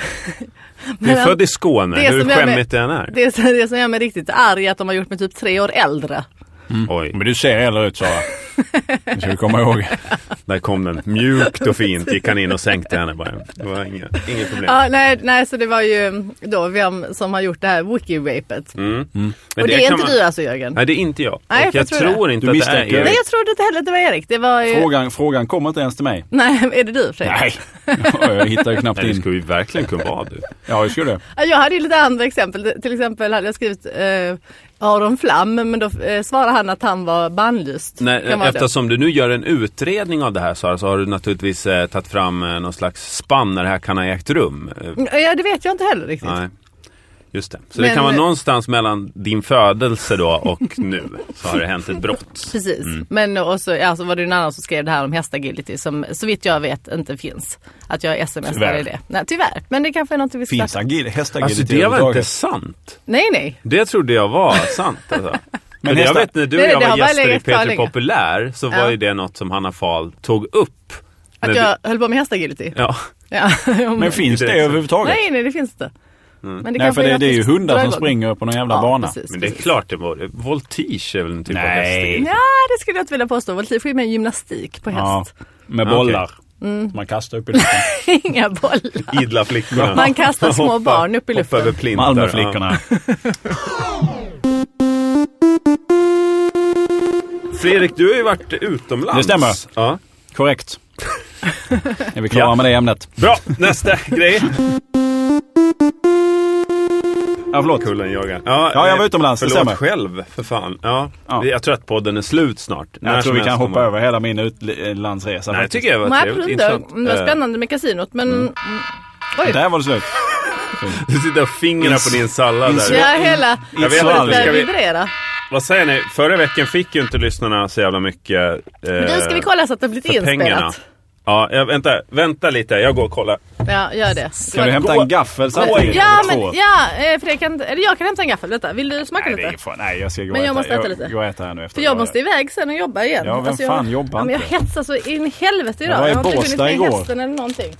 Speaker 2: Du
Speaker 3: Men-
Speaker 2: är född i Skåne,
Speaker 3: det
Speaker 2: hur
Speaker 3: som jag med-
Speaker 2: skämmigt det än är.
Speaker 3: Det, är så- det som gör mig riktigt arg är att de har gjort mig typ tre år äldre.
Speaker 2: Mm. Oj,
Speaker 1: Men du ser äldre ut
Speaker 3: <laughs>
Speaker 1: Sara. Det ska vi komma ihåg.
Speaker 2: där kom den. Mjukt och fint gick han in och sänkte henne bara. Det var inga, inga problem.
Speaker 3: Ja, nej, nej, så det var ju då vem som har gjort det här wiki-rapet.
Speaker 2: Men
Speaker 3: och Mm, det, är
Speaker 2: kan
Speaker 3: inte
Speaker 2: man-
Speaker 3: du alltså Jörgen? Nej.
Speaker 2: Nej, det är inte jag.
Speaker 3: Nej,
Speaker 2: och
Speaker 3: jag
Speaker 2: jag
Speaker 3: tror det.
Speaker 2: tror inte
Speaker 1: Du
Speaker 2: att det är
Speaker 1: misstänker.
Speaker 2: Erik.
Speaker 3: jag trodde inte heller att det var Erik. Det var ju...
Speaker 1: Frågan, frågan kommer inte ens till mig.
Speaker 3: Nej, är det du Fredrik?
Speaker 1: <laughs> Jag hittar ju knappt
Speaker 2: Nej, det
Speaker 1: in.
Speaker 2: skulle ju verkligen kunna vara du.
Speaker 1: Ja, det skulle det.
Speaker 3: Ja, Jag hade ju lite andra exempel. Det- Till exempel hade jag skrivit eh, Aron Flam, men då eh, svarade han att han var bannlyst.
Speaker 2: Nej,
Speaker 3: Kan vara det.
Speaker 2: eftersom du nu gör en utredning av det här Sara, så har du naturligtvis eh, tagit fram eh, någon slags spann när det här kan ha ägt rum. Eh,
Speaker 3: Ja, det vet jag inte heller riktigt.
Speaker 2: Nej. Just det. Så det
Speaker 3: Mm. Men- eh,
Speaker 2: kan vara någonstans mellan din födelse då och <laughs> nu så har det hänt ett brott.
Speaker 3: Precis,
Speaker 1: Mm.
Speaker 3: men och så, ja, så var det ju en annan som skrev det här om hästagility som så vitt jag vet inte finns. Att jag smsade
Speaker 1: Tyvärr.
Speaker 3: i det. Nej, tyvärr, men det kanske är något vi
Speaker 1: Finns
Speaker 3: startar.
Speaker 1: agil, hästagility
Speaker 2: Alltså det var inte
Speaker 1: överhuvudtaget?
Speaker 2: sant.
Speaker 3: Nej, nej.
Speaker 2: Det trodde jag var sant
Speaker 3: <laughs>
Speaker 2: alltså. Men
Speaker 1: Men
Speaker 2: jag
Speaker 1: nästa-
Speaker 2: vet när du och
Speaker 3: Nej,
Speaker 2: jag
Speaker 3: det
Speaker 2: var
Speaker 3: har bara
Speaker 2: gäster i
Speaker 3: legat kvar
Speaker 2: P3
Speaker 3: länge.
Speaker 2: Populär så var
Speaker 3: Ja.
Speaker 2: ju det något som Hanna Fahl tog upp.
Speaker 3: Att
Speaker 2: när vi-
Speaker 3: jag höll på med hästagility.
Speaker 2: Ja,
Speaker 3: Ja. <laughs>
Speaker 1: Men finns det
Speaker 2: Det är så.
Speaker 1: överhuvudtaget?
Speaker 3: nej, nej, det finns inte. Men
Speaker 1: Nej,
Speaker 3: kanske
Speaker 1: för det,
Speaker 3: något
Speaker 1: det är
Speaker 3: vi
Speaker 1: ju
Speaker 3: ska
Speaker 1: hundar
Speaker 3: dra
Speaker 1: som
Speaker 3: igång.
Speaker 1: springer upp på någon jävla
Speaker 3: ja,
Speaker 1: bana.
Speaker 3: Precis,
Speaker 2: men det är
Speaker 3: precis.
Speaker 2: klart det var. Voltige är väl en typ av
Speaker 1: Nej.
Speaker 2: hästig.
Speaker 3: Ja, det skulle jag inte vilja påstå. Voltige får ju med gymnastik på
Speaker 1: Ja,
Speaker 3: häst. <laughs>
Speaker 1: med
Speaker 2: Ja,
Speaker 1: bollar. Man kastar upp i luften. <laughs>
Speaker 3: Inga bollar.
Speaker 2: Idla flickorna.
Speaker 3: Man kastar små
Speaker 2: Hoppa-
Speaker 3: barn upp i luften.
Speaker 2: Hoppa över plintar.
Speaker 1: Malmöflickorna.
Speaker 2: Ja. Fredrik, du har ju varit utomlands.
Speaker 1: Det stämmer.
Speaker 2: Ja.
Speaker 1: Korrekt. Är vi klara
Speaker 2: Ja.
Speaker 1: med det ämnet?
Speaker 2: Bra, nästa <laughs> grej.
Speaker 1: Ja, förlåt.
Speaker 2: Kullen Jörgen. Ja,
Speaker 1: Ja, jag var
Speaker 2: eh,
Speaker 1: utomlands, det
Speaker 2: Förlåt
Speaker 1: stämmer.
Speaker 2: själv, för fan. Ja.
Speaker 1: Ja.
Speaker 2: Jag tror att podden är slut snart. När
Speaker 1: Jag tror vi
Speaker 2: som
Speaker 1: kan
Speaker 2: helst
Speaker 1: hoppa
Speaker 2: kommer-
Speaker 1: över hela min utlandsresa.
Speaker 2: Nej, jag
Speaker 1: faktiskt.
Speaker 2: tycker jag var
Speaker 3: Nej,
Speaker 2: trevligt.
Speaker 3: plunder.
Speaker 2: Intressant.
Speaker 3: Det var
Speaker 2: Eh,
Speaker 3: spännande med kasinot, men mm. oj.
Speaker 1: Där var det slut.
Speaker 2: Du sitter och fingrar på din sallad
Speaker 1: Ins-
Speaker 2: där.
Speaker 3: Ja, hela...
Speaker 1: Jag
Speaker 2: vet
Speaker 3: Svalget
Speaker 2: inte, ska
Speaker 3: börjar
Speaker 2: vi-
Speaker 3: vibrera.
Speaker 1: Eh,
Speaker 2: Vad säger ni? Förra veckan fick ju inte lyssnarna så jävla mycket... Eh,
Speaker 3: Men nu ska vi kolla så att det har blivit
Speaker 2: för pengarna.
Speaker 3: inspelat.
Speaker 2: Ja, jag, vänta, vänta lite. Jag går och kollar.
Speaker 3: Ja, gör det.
Speaker 1: Kan du hämta
Speaker 2: Gå-
Speaker 1: en gaffel samtidigt?
Speaker 3: Ja,
Speaker 1: Eller
Speaker 3: men
Speaker 1: två?
Speaker 3: ja, eh, Fredrik kan, eller jag kan hämta en gaffel. Vänta, vill du smaka
Speaker 1: Nej, det
Speaker 3: lite?
Speaker 1: är fan- nej, jag ska gå
Speaker 3: Men jag
Speaker 1: och
Speaker 3: måste äta lite.
Speaker 1: Jag går och äta här nu efter.
Speaker 3: För jag måste iväg sen och jobba igen. Alltså,
Speaker 1: Ja, vem
Speaker 3: jag,
Speaker 1: fan jobbar
Speaker 3: ja, men jag
Speaker 1: inte?
Speaker 3: hetsar så in i helvete idag.
Speaker 1: Jag var i
Speaker 3: har inte hunnit
Speaker 1: Båstad
Speaker 3: med
Speaker 1: igår.
Speaker 3: hästen eller någonting.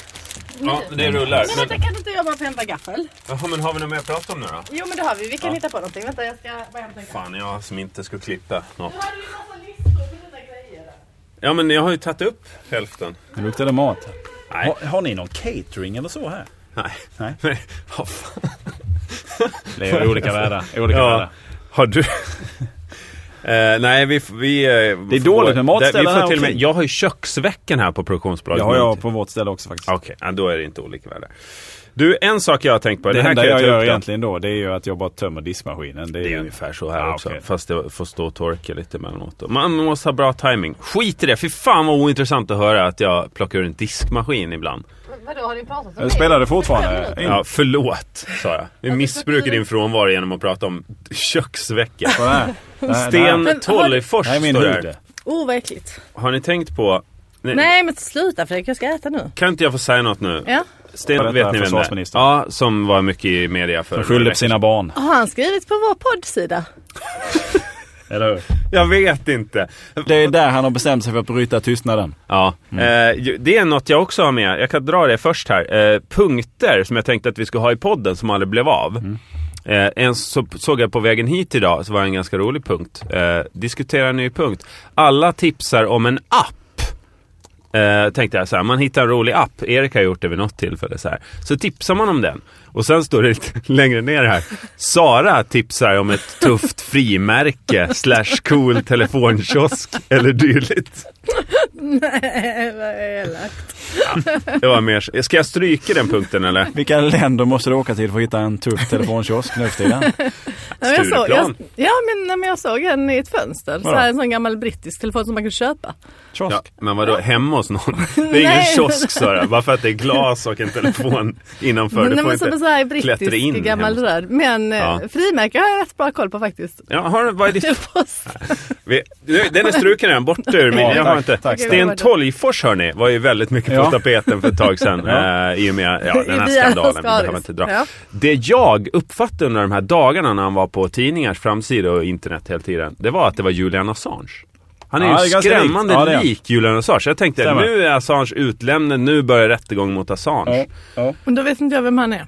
Speaker 2: Ja, det rullar.
Speaker 3: Mm. Men
Speaker 2: Men,
Speaker 3: vänta, kan inte jag bara få hämta gaffel?
Speaker 2: jaha, men har vi något mer att prata om nu då?
Speaker 3: Jo, men det har vi. Vi kan hitta på någonting. Vänta, jag ska bara hämta en gaffel.
Speaker 2: Fan, jag som inte skulle klippa något.
Speaker 3: Nu har du ju massa listor på dina grejer.
Speaker 2: Ja, men jag har ju tagit upp hälften.
Speaker 1: Nu luktar det mat.
Speaker 2: Nej.
Speaker 1: Har, har ni någon catering eller så här?
Speaker 2: <laughs> Nej.
Speaker 1: Nej.
Speaker 2: Men, vad fan.
Speaker 1: Det är olika världar. Olika
Speaker 2: Ja.
Speaker 1: världar. <laughs>
Speaker 2: Har du... Eh, nej, vi... f- vi eh,
Speaker 1: är dåligt med matställen
Speaker 2: vi får
Speaker 1: här
Speaker 2: till och med,
Speaker 1: omkring.
Speaker 2: Jag har ju köksveckan här på produktionsbolaget.
Speaker 1: Det har jag på vårt ställe också faktiskt.
Speaker 2: Okej, ja, då är det inte olika världar. Du, en sak jag har tänkt på.
Speaker 1: Det
Speaker 2: här
Speaker 1: enda
Speaker 2: kan
Speaker 1: jag
Speaker 2: ta upp
Speaker 1: gör
Speaker 2: då.
Speaker 1: egentligen då det är ju att jag bara tömmer diskmaskinen. Det är,
Speaker 2: Det är
Speaker 1: ju-
Speaker 2: ungefär så här
Speaker 1: Ja,
Speaker 2: också.
Speaker 1: okej.
Speaker 2: Fast det får stå och torka lite emellanåt. då. Man måste ha bra timing. Skit i det, fy fan vad ointressant att höra att jag plockar ur en diskmaskin ibland.
Speaker 3: Vadå, har ni pratat om
Speaker 1: Jag spelar det fortfarande.
Speaker 2: Ja, förlåt, sa jag. Vi missbrukar din frånvaro genom att prata om köksvecka.
Speaker 1: Kolla här. Det här- det här-
Speaker 2: Sten Tolgfors
Speaker 1: Det här är min
Speaker 2: står här.
Speaker 1: hud.
Speaker 3: Oh, vad äckligt.
Speaker 2: Har ni tänkt på... Nej,
Speaker 1: Mm.
Speaker 3: Nej, men sluta Fredrik. Jag ska äta nu.
Speaker 2: Kan inte jag få säga något nu?
Speaker 3: Ja.
Speaker 1: Vad
Speaker 2: Sten,
Speaker 1: är detta,
Speaker 2: vet ni vem det är?
Speaker 1: försvarsministern?
Speaker 2: Ja, som var mycket i media för...
Speaker 1: De skyller på sina barn.
Speaker 3: Har han skrivit på vår poddsida? <laughs>
Speaker 1: Eller hur?
Speaker 2: Jag vet inte.
Speaker 1: Det är där han har bestämt sig för att bryta tystnaden.
Speaker 2: Ja, eh, ju- det är något jag också har med. Jag kan dra det först här. Eh, punkter som jag tänkte att vi skulle ha i podden som aldrig blev av. Eh, en så, såg jag på vägen hit idag, så var det en ganska rolig punkt. Eh, diskutera en ny punkt. Alla tipsar om en app. Eh, tänkte jag så här, man hittar en rolig app. Erik har gjort det vid något tillfälle. Så, här. så tipsar man om den. Och sen står det lite <laughs> längre ner här. Sara tipsar om ett tufft frimärke slash cool telefonkiosk eller dylikt. Det var mer, ska jag stryka den punkten eller?
Speaker 1: Vilka länder måste du åka till för att hitta en tuff telefonkiosk nu för tiden? <laughs>
Speaker 3: Ja, men jag såg, jag,
Speaker 2: Stureplan.
Speaker 3: ja men, nej, men jag såg en i ett fönster. Så
Speaker 1: Vadå?
Speaker 3: här, en sån gammal brittisk telefon som man kunde köpa.
Speaker 1: Kiosk.
Speaker 2: Ja, men vadå, hemma hos någon? Det är ingen
Speaker 3: Nej.
Speaker 2: kiosk Sara, bara för att det är glas och en
Speaker 3: <laughs>
Speaker 2: telefon innanför. Du
Speaker 3: nej,
Speaker 2: får
Speaker 3: men som en
Speaker 2: inte...
Speaker 3: sån här
Speaker 2: klättra in
Speaker 3: brittisk gammal
Speaker 2: hemskt.
Speaker 3: röd. Men
Speaker 2: Ja.
Speaker 3: eh, frimärke har jag rätt bra koll på faktiskt.
Speaker 2: Ja, har, vad är ditt
Speaker 3: <laughs> Post.
Speaker 2: Vi, nu- den är struken redan, borta ur min.
Speaker 1: Ja,
Speaker 2: jag
Speaker 1: tack,
Speaker 2: har inte.
Speaker 1: tack.
Speaker 2: Sten Tolgfors hörni, var ju väldigt mycket på
Speaker 1: Ja.
Speaker 2: tapeten för ett
Speaker 1: <laughs>
Speaker 2: tag sedan. eh, I och med ja, den
Speaker 3: <laughs>
Speaker 2: här
Speaker 3: Via
Speaker 2: skandalen. Vi
Speaker 3: Scaris.
Speaker 2: behöver inte dra.
Speaker 3: Ja.
Speaker 2: Det jag uppfattade under de här dagarna när han var på tidningars framsida och internet hela tiden. Det var att det var Julian Assange. Han är
Speaker 1: Ja, det är
Speaker 2: ju
Speaker 1: ganska
Speaker 2: skrämmande
Speaker 1: likt. Ja, det är han.
Speaker 2: lik Julian Assange. Jag tänkte
Speaker 1: Stämmer.
Speaker 2: nu är Assange utlämnad, nu börjar rättegång mot Assange.
Speaker 3: Men då vet inte jag vem han är.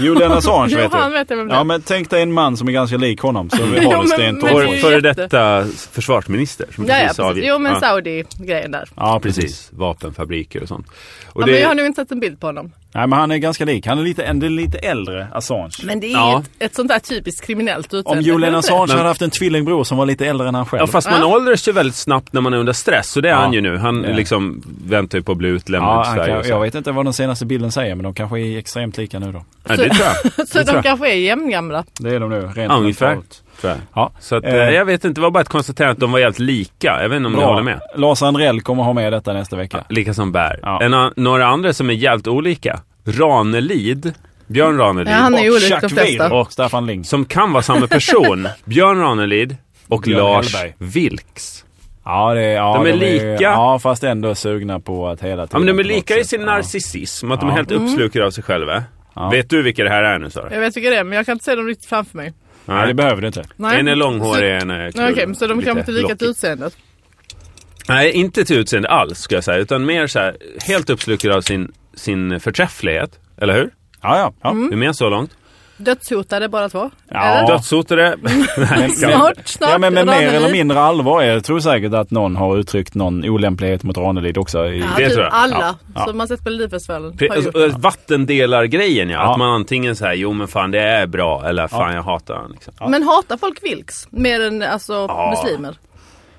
Speaker 1: Julian Assange
Speaker 3: Jo,
Speaker 1: vet
Speaker 3: han
Speaker 1: du.
Speaker 3: vet jag vem det är.
Speaker 1: Ja men tänk dig en man som är ganska lik honom.
Speaker 3: <laughs>
Speaker 1: Så vi
Speaker 3: Ja,
Speaker 1: har
Speaker 3: men-
Speaker 1: väl Sten
Speaker 3: men det är
Speaker 2: Vår
Speaker 1: Tolgfors.
Speaker 3: ju
Speaker 2: före
Speaker 3: jätte-
Speaker 2: detta försvarsminister som
Speaker 3: Ja, ja,
Speaker 2: precis
Speaker 3: precis.
Speaker 2: avgick.
Speaker 3: Jo men
Speaker 2: Ja.
Speaker 3: Saudi-grejen där.
Speaker 1: Ja precis.
Speaker 2: Precis, vapenfabriker och sånt. Och
Speaker 3: Ja, men jag har nog inte sett en bild på honom.
Speaker 1: Nej men han är ganska lik. Han är lite, en, det är lite äldre Assange.
Speaker 3: Men det är
Speaker 2: Ja.
Speaker 3: ett, ett sånt där typiskt kriminellt utseende.
Speaker 1: Om Julian
Speaker 3: är det inte
Speaker 1: Assange
Speaker 2: Men-
Speaker 1: hade haft en tvillingbror som var lite äldre än han själv.
Speaker 2: Ja fast man åldras ju väldigt snabbt när man är under stress så det är
Speaker 1: Ja.
Speaker 2: han ju nu. Han
Speaker 1: Ja.
Speaker 2: liksom väntar ju på att bli
Speaker 1: Ja,
Speaker 2: utlämnad till
Speaker 1: han
Speaker 2: Sverige. och
Speaker 1: kan,
Speaker 2: så.
Speaker 1: jag vet inte vad den senaste bilden säger men de kanske är extremt lika nu då.
Speaker 2: Ja, det tror
Speaker 1: <laughs>
Speaker 2: jag.
Speaker 3: det? Så
Speaker 2: tror
Speaker 3: de
Speaker 2: jag.
Speaker 3: kanske är jämngamla.
Speaker 1: Det är de nu. Rent
Speaker 2: Ja, ungefär.
Speaker 1: mentalt.
Speaker 2: Tror jag.
Speaker 1: Ja.
Speaker 2: Så att, eh,
Speaker 1: Eh.
Speaker 2: jag vet inte, det var bara ett konstaterande att de var helt lika. Jag vet inte om ni
Speaker 1: Bra.
Speaker 2: håller med.
Speaker 1: Lars Andrell kommer ha med detta nästa vecka.
Speaker 2: Lika som bär.
Speaker 1: Ja.
Speaker 2: En, an- några andra som är jävligt olika. Ranelid. Björn Ranelid.
Speaker 3: Ja, han är ju
Speaker 1: Och
Speaker 3: olik de
Speaker 1: Chuck
Speaker 3: flesta.
Speaker 1: Weir och Staffan Ling.
Speaker 2: Som kan vara samma
Speaker 3: <laughs>
Speaker 2: person. Björn Ranelid och
Speaker 1: Björn
Speaker 2: Lars
Speaker 1: Hellberg.
Speaker 2: Vilks.
Speaker 1: Ja, det är, ja,
Speaker 2: De är lika.
Speaker 1: ja, fast ändå sugna på att hela
Speaker 2: Ja,
Speaker 1: tiden.
Speaker 2: men de är
Speaker 1: på något
Speaker 2: lika i
Speaker 1: sätt.
Speaker 2: sin
Speaker 1: Ja.
Speaker 2: narcissism, att de är
Speaker 1: Ja.
Speaker 2: helt
Speaker 3: Mm.
Speaker 2: uppslukade av sig själva.
Speaker 1: Ja.
Speaker 2: Vet du vilka det här är nu Sara?
Speaker 3: Jag vet vilka det är men jag kan inte se dem riktigt framför mig.
Speaker 1: Nej, det behöver du inte.
Speaker 3: Nej.
Speaker 2: En är långhårig, en är
Speaker 3: Nej,
Speaker 2: kul.
Speaker 3: Okej, så de
Speaker 2: Lite
Speaker 3: kanske inte är lika
Speaker 2: lockig.
Speaker 3: till utseendet.
Speaker 2: Nej, inte till utseende alls ska jag säga. Utan mer så här, helt uppslukad av sin, sin förträfflighet. Eller
Speaker 3: Mm.
Speaker 2: hur?
Speaker 1: Ja, ja. ja.
Speaker 2: Vi är med så långt.
Speaker 3: Dödshotade bara två.
Speaker 1: Ja.
Speaker 3: Eller? <laughs>
Speaker 2: Dödshotade. Nej, ska vi-
Speaker 3: Snart, snart.
Speaker 1: Ja, men med mer
Speaker 3: Ranelid.
Speaker 1: eller mindre allvar. Jag tror säkert att någon har uttryckt någon olämplighet mot Ranelid också. I...
Speaker 3: Ja,
Speaker 2: Det
Speaker 3: typ
Speaker 2: tror jag.
Speaker 3: Alla
Speaker 1: Ja.
Speaker 3: som har sett Melodifestivalen
Speaker 2: Pre-
Speaker 3: har gjort
Speaker 2: alltså, eh, Vattendelargrejen ja.
Speaker 1: Ja.
Speaker 2: Att man antingen säger jo men fan det är bra eller fan jag hatar han. Liksom.
Speaker 3: Men hatar folk Vilks mer än alltså, muslimer?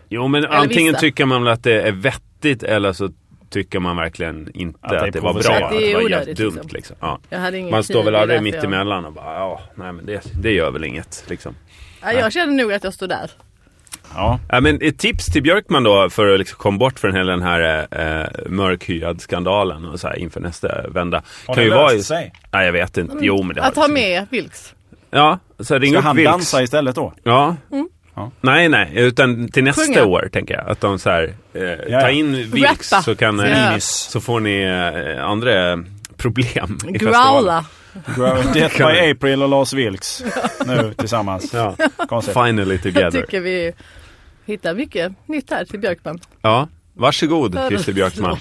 Speaker 2: Jo men antingen
Speaker 3: vissa.
Speaker 2: tycker man väl att det är vettigt eller så tycker man verkligen inte
Speaker 1: Att det är
Speaker 2: att det, var bra.
Speaker 1: provocerande.
Speaker 2: Att
Speaker 1: Att
Speaker 2: det,
Speaker 1: det
Speaker 3: är
Speaker 2: var helt
Speaker 3: onödigt,
Speaker 2: dumt liksom.
Speaker 3: liksom.
Speaker 2: Ja.
Speaker 3: Jag hade ingen
Speaker 2: Man står väl
Speaker 3: tid, det är typ
Speaker 2: aldrig
Speaker 3: därför
Speaker 2: mitt
Speaker 3: jag-
Speaker 2: emellan och bara ja, nej men det, det gör väl inget liksom.
Speaker 3: Ja, jag känner nog att jag står där.
Speaker 1: Ja.
Speaker 2: Ja, men ett tips till Björkman då för att liksom komma bort från hela den här eh, mörkhyad skandalen och så här inför nästa vända.
Speaker 1: det löst
Speaker 2: i-
Speaker 1: sig?
Speaker 2: Nej, jag vet inte. Jo, men det har
Speaker 3: Mm. Att ha
Speaker 2: det.
Speaker 3: med Vilks.
Speaker 2: Ja, så ring
Speaker 1: Ska
Speaker 2: upp
Speaker 1: han
Speaker 2: Vilks.
Speaker 1: dansa istället
Speaker 2: <laughs>
Speaker 1: då?
Speaker 2: Ja.
Speaker 1: Ja.
Speaker 2: Nej, nej, utan till nästa
Speaker 3: Mm. Sjunga.
Speaker 2: år tänker jag. Att de så här, eh,
Speaker 1: ja.
Speaker 2: ta in Vilks
Speaker 3: Rappa.
Speaker 2: så, kan,
Speaker 3: Ja.
Speaker 2: eh, så får ni eh, andra eh, problem i festivalen.
Speaker 3: Growla.
Speaker 1: Death by April och Lars Vilks nu tillsammans.
Speaker 3: <laughs>
Speaker 2: Ja.
Speaker 1: Koncept.
Speaker 2: Finally
Speaker 3: Jag
Speaker 2: together.
Speaker 3: tycker vi hittar mycket nytt här till Björkman.
Speaker 2: Ja, varsågod Christer Björkman.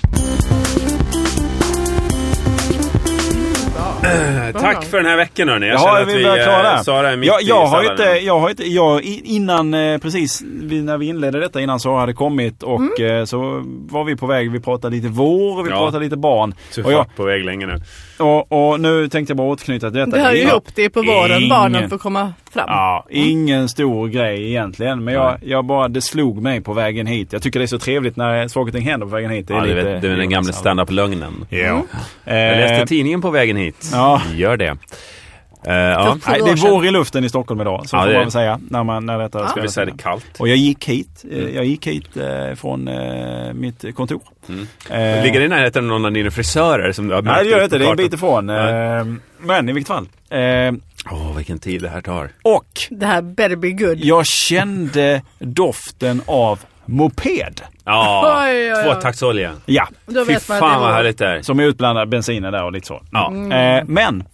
Speaker 2: Eh, Tack för den här veckan hörni. Jag
Speaker 1: Ja,
Speaker 2: känner
Speaker 1: är
Speaker 2: att
Speaker 1: vi
Speaker 2: vi,
Speaker 1: väl
Speaker 2: eh,
Speaker 1: klara?
Speaker 2: Sara är mitt
Speaker 1: jag,
Speaker 2: i
Speaker 1: jag har ju inte,
Speaker 2: salladen.
Speaker 1: jag har inte, jag, i- innan eh, precis vi- när vi inledde detta innan Sara hade kommit och
Speaker 3: Mm.
Speaker 1: eh, så var vi på väg. Vi pratade lite vår, vi
Speaker 2: Ja.
Speaker 1: pratade lite barn.
Speaker 2: Så
Speaker 1: Och, jag,
Speaker 2: fart på väg länge nu.
Speaker 1: och, och nu tänkte jag bara återknyta till detta.
Speaker 3: Det hör ju Mm.
Speaker 1: Ja.
Speaker 3: ihop, det är på våren
Speaker 1: Ingen.
Speaker 3: barnen får komma fram.
Speaker 1: Ja, ingen stor grej egentligen. Men jag, jag bara, det slog mig på vägen hit. Jag tycker det är så trevligt när saker och ting händer på vägen hit. Det är
Speaker 2: Ja, du
Speaker 1: lite,
Speaker 2: vet, det är den gamla standup-lögnen. Mm.
Speaker 1: Ja.
Speaker 2: Jag läste
Speaker 1: Eh,
Speaker 2: tidningen på vägen hit.
Speaker 1: ja.
Speaker 2: Gör det. Eh, ja.
Speaker 3: För
Speaker 1: Nej,
Speaker 3: några
Speaker 1: det
Speaker 3: år
Speaker 1: är
Speaker 3: sedan.
Speaker 1: vår i luften i Stockholm idag, så
Speaker 2: Ja,
Speaker 1: får
Speaker 2: det är
Speaker 1: man
Speaker 2: det.
Speaker 1: väl säga. När, man, när detta
Speaker 2: Ska vi
Speaker 1: spelas
Speaker 2: säga
Speaker 1: in.
Speaker 2: det är kallt?
Speaker 1: Och jag gick hit, eh,
Speaker 2: Mm.
Speaker 1: jag gick hit eh, från eh, mitt kontor. Eh,
Speaker 2: Mm. Ligger det i närheten av någon av dina frisörer som du har märkt
Speaker 1: Nej det gör
Speaker 2: ut
Speaker 1: det inte,
Speaker 2: på
Speaker 1: det är en
Speaker 2: kartan?
Speaker 1: bit ifrån. Eh, men i vilket fall. Eh,
Speaker 2: Åh, vilken tid det här
Speaker 3: <laughs>
Speaker 2: tar.
Speaker 1: och
Speaker 3: Det här better be good.
Speaker 1: jag kände doften av moped.
Speaker 2: Ja,
Speaker 3: Oj, oj, oj.
Speaker 2: tvåtaktsolja.
Speaker 1: Ja,
Speaker 3: Då
Speaker 2: Fy
Speaker 3: vet man att det
Speaker 2: fan
Speaker 3: är
Speaker 2: vad
Speaker 3: vår.
Speaker 2: härligt det är.
Speaker 1: som är utblandad bensinen där och lite så.
Speaker 2: Ja.
Speaker 1: Eh, men,